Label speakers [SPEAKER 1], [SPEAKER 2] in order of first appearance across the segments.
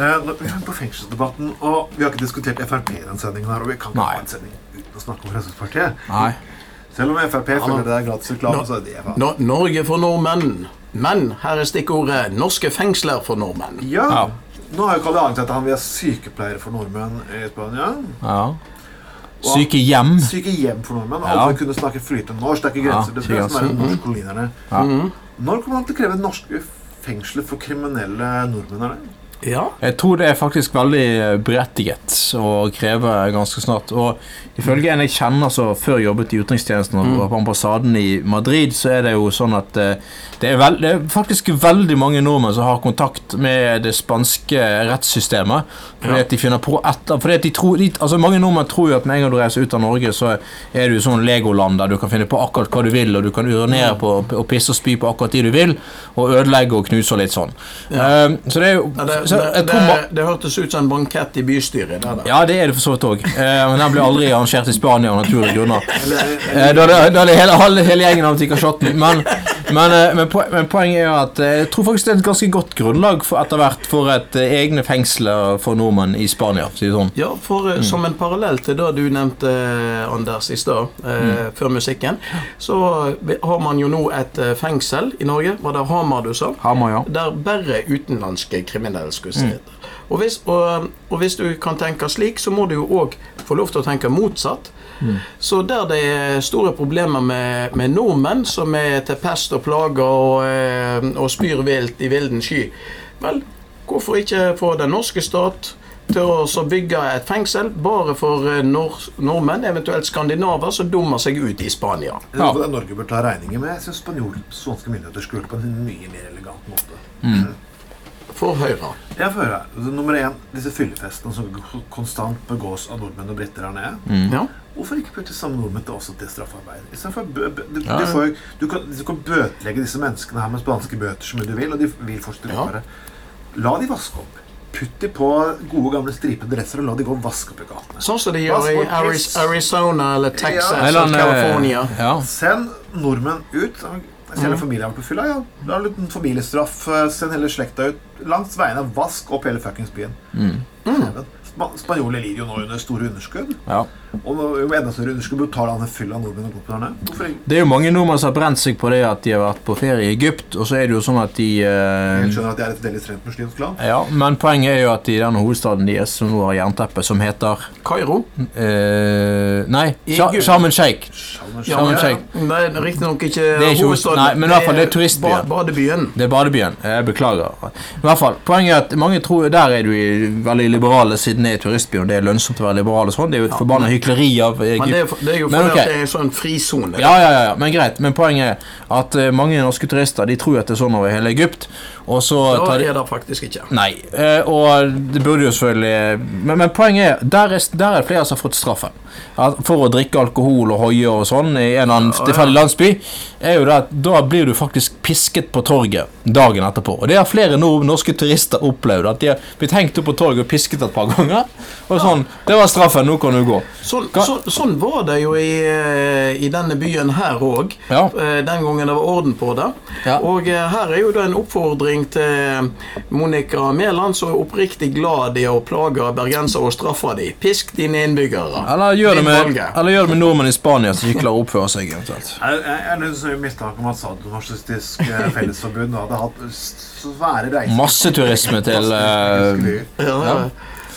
[SPEAKER 1] Eh, nå- Vi er på fengselsdebatten, og vi har ikke diskutert Frp i den sendingen her. Og vi kan ikke
[SPEAKER 2] Nei.
[SPEAKER 1] ha en sending uten å snakke om Fremskrittspartiet.
[SPEAKER 2] Nei.
[SPEAKER 1] Selv om Frp føler det er gratis reklame,
[SPEAKER 2] Nå-
[SPEAKER 1] så er det faen.
[SPEAKER 2] Nå- Norge for nordmenn. Men her er stikkordet 'norske fengsler for nordmenn'.
[SPEAKER 1] Ja.
[SPEAKER 3] Ja.
[SPEAKER 1] Nå har jo Kalle Arntzen at han vil ha sykepleiere for nordmenn i Spania.
[SPEAKER 3] Ja. Sykehjem.
[SPEAKER 1] Sykehjem for nordmenn.
[SPEAKER 3] Ja.
[SPEAKER 1] Alle kunne snakke flytende norsk. Det er ikke grenser.
[SPEAKER 3] Ja,
[SPEAKER 1] det skal
[SPEAKER 3] ikke
[SPEAKER 1] liksom være
[SPEAKER 3] grenser.
[SPEAKER 1] norskkolinerne.
[SPEAKER 3] Ja.
[SPEAKER 1] Når kommer han til å kreve norske fengsler for kriminelle nordmenn? Er det?
[SPEAKER 2] Ja.
[SPEAKER 3] Jeg tror det er faktisk veldig eh, berettiget å kreve ganske snart. Og ifølge en jeg kjenner som før jobbet i utenrikstjenesten
[SPEAKER 2] Mm.
[SPEAKER 3] og var på ambassaden i Madrid, så er det jo sånn at eh, det er, vel- det er faktisk veldig mange nordmenn som har kontakt med det spanske rettssystemet. Fordi
[SPEAKER 2] Ja.
[SPEAKER 3] at de finner på etter Fordi at de tror de, Altså Mange nordmenn tror jo at med en gang du reiser ut av Norge, så er du i sånn Legoland der du kan finne på akkurat hva du vil, og du kan urinere
[SPEAKER 2] Mm.
[SPEAKER 3] på og pisse og spy på akkurat de du vil, og ødelegge og knuse og litt sånn. Eh, så det er jo
[SPEAKER 2] Ja, Det,
[SPEAKER 3] så
[SPEAKER 2] det,
[SPEAKER 3] jeg tror ma-
[SPEAKER 2] det, det hørtes ut som en bankett i bystyret. Det, der.
[SPEAKER 3] ja, det er det for så vidt òg. Eh, men den blir aldri arrangert i Spania av naturlige grunner.
[SPEAKER 1] Eller,
[SPEAKER 3] Eh, da hadde- da hadde hele, alle, hele gjengen hadde tikka shotten. Men, men, eh, men, poen- men poenget er jo at eh, jeg tror faktisk det er et ganske godt grunnlag for, etter hvert for et eh, egne fengsler for nordmenn i Spania. Si det sånn.
[SPEAKER 2] Ja, for eh, som en parallell til det du nevnte, eh, Anders, i stad,
[SPEAKER 3] Mm.
[SPEAKER 2] eh, før musikken, så eh, har man jo nå et eh, fengsel i Norge. Var det Hamar du sa?
[SPEAKER 3] Hamar, ja.
[SPEAKER 2] Der bare utenlandske kriminelle skulle sitte. Og, hvis, og, og hvis du kan tenke slik, så må du jo òg få lov til å tenke motsatt. Så der det er store problemer med, med nordmenn som er til pest og plager og, eh, og spyr vilt i vilden sky, vel, hvorfor ikke få den norske stat til å så bygge et fengsel bare for eh, nor nordmenn, eventuelt skandinaver, som dummer seg ut i Spania?
[SPEAKER 1] Det er noe det Norge bør ta regningen med. Jeg syns spanske myndigheter skulle gjort det på en mye mer elegant måte.
[SPEAKER 2] For Høyre.
[SPEAKER 1] Jeg får høre, altså, Nummer én, disse fyllefestene som k- konstant begås av nordmenn og briter her nede.
[SPEAKER 3] Mm.
[SPEAKER 2] Ja.
[SPEAKER 1] Hvorfor ikke putte samme nordmenn til også til straffarbeid? I stedet for å bø- bø- de,
[SPEAKER 3] Ja,
[SPEAKER 1] de
[SPEAKER 3] ja.
[SPEAKER 1] får, jo- du, kan, du kan bøtelegge disse menneskene her med spanske bøter så mye du vil, og de vil fortsatt
[SPEAKER 2] Ja.
[SPEAKER 1] gjøre det. La de vaske opp. Putt de på gode, gamle stripede dresser, og la de gå og vaske opp i gatene.
[SPEAKER 2] Sånn som de gjør i
[SPEAKER 1] Passport,
[SPEAKER 2] Ari
[SPEAKER 1] kryss.
[SPEAKER 2] Arizona eller Texas
[SPEAKER 1] Ja.
[SPEAKER 3] Eller,
[SPEAKER 2] eller
[SPEAKER 3] eh,
[SPEAKER 2] California.
[SPEAKER 3] Ja.
[SPEAKER 1] Send nordmenn ut. Send
[SPEAKER 3] Mm.
[SPEAKER 1] hele familien på fylla. Ja. La litt familiestraff. eh, Send hele slekta ut. Langs veiene. Vask opp hele fuckings byen.
[SPEAKER 3] Mm.
[SPEAKER 1] Heaven. Spa Spanjoler lider jo nå under store underskudd.
[SPEAKER 3] ja.
[SPEAKER 1] Og nå- jo enda større underskudd betaler han en fyll av nordmenn og koperne. Hvorfor ikke?
[SPEAKER 3] Det er jo mange nordmenn som har brent seg på det at de har vært på ferie i Egypt, og så er det jo sånn at de eh,
[SPEAKER 1] Jeg skjønner at jeg er et veldig strengt muslimsk land.
[SPEAKER 3] ja, Men poenget er jo at i den hovedstaden deres som nå har jernteppe, som heter
[SPEAKER 2] Kairo.
[SPEAKER 3] eh, Nei, Sha-
[SPEAKER 2] Egypt.
[SPEAKER 3] Sharm el Sheikh.
[SPEAKER 1] Sjalom,
[SPEAKER 2] Ja,
[SPEAKER 1] sjalom.
[SPEAKER 3] men sjekk.
[SPEAKER 2] Det er riktignok ikke
[SPEAKER 3] er ikke hos-
[SPEAKER 2] hovedstaden.
[SPEAKER 3] nei, men i hvert fall det er turistbyen.
[SPEAKER 2] ba- Badebyen.
[SPEAKER 3] Det er badebyen. Jeg beklager. I hvert fall, Poenget er at mange tror der er du i- veldig liberale siden det er turistby, og det er lønnsomt å være liberal og sånn. Det er jo et forbanna hykleri av eh,
[SPEAKER 2] Men det er, for- det er jo
[SPEAKER 3] Men
[SPEAKER 2] fordi
[SPEAKER 3] ok.
[SPEAKER 2] at det er en sånn frisone.
[SPEAKER 3] ja, ja, ja, ja, men greit. Men poenget er at eh, mange norske turister de tror at det er sånn over hele Egypt, og så
[SPEAKER 2] Da
[SPEAKER 3] tar de
[SPEAKER 2] er det faktisk ikke.
[SPEAKER 3] Nei. eh, Og det burde jo selvfølgelig Men, men poenget er der, er der er det flere som har fått straffen. At For å drikke alkohol og hoie og sånn i en eller annen tilfeldig landsby. Er jo det at Da blir du faktisk pisket på torget dagen etterpå. Og det har flere nord norske turister opplevd. At de har blitt hengt opp på torget og pisket et par ganger. Og sånn Det var straffen, nå kan du gå.
[SPEAKER 2] Sånn,
[SPEAKER 3] Hva-
[SPEAKER 2] sånn- sånn var det jo i, eh, i denne byen her òg,
[SPEAKER 3] Ja.
[SPEAKER 2] den gangen det var orden på det.
[SPEAKER 3] Ja.
[SPEAKER 2] Og eh, her er jo da en oppfordring til Monica Mæland, som er oppriktig glad i å plage bergensere og straffe dem. Pisk dine innbyggere.
[SPEAKER 3] Eller gjør det med,
[SPEAKER 2] valget.
[SPEAKER 3] eller gjør det med nordmenn i Spania som ikke klarer å oppføre seg. eventuelt
[SPEAKER 1] Jeg jeg- jeg har litt sånn mistanke om at Sadomasochistisk eh, Fellesforbund hadde hatt s- svære reiser
[SPEAKER 3] Masse turisme til eh,
[SPEAKER 2] Ja, ja.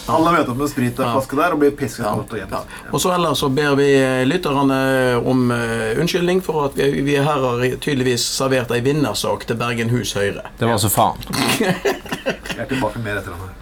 [SPEAKER 1] Alle møter opp med sprit og flaske der og blir pisket godt og
[SPEAKER 2] Ja.
[SPEAKER 1] gjemt.
[SPEAKER 2] Og så ellers så ber vi eh, lytterne om eh, unnskyldning for at vi, vi her har tydeligvis servert ei vinnersak til Bergenhus Høyre.
[SPEAKER 3] Det var så faen.
[SPEAKER 1] Jeg er tilbake med mer etter den her.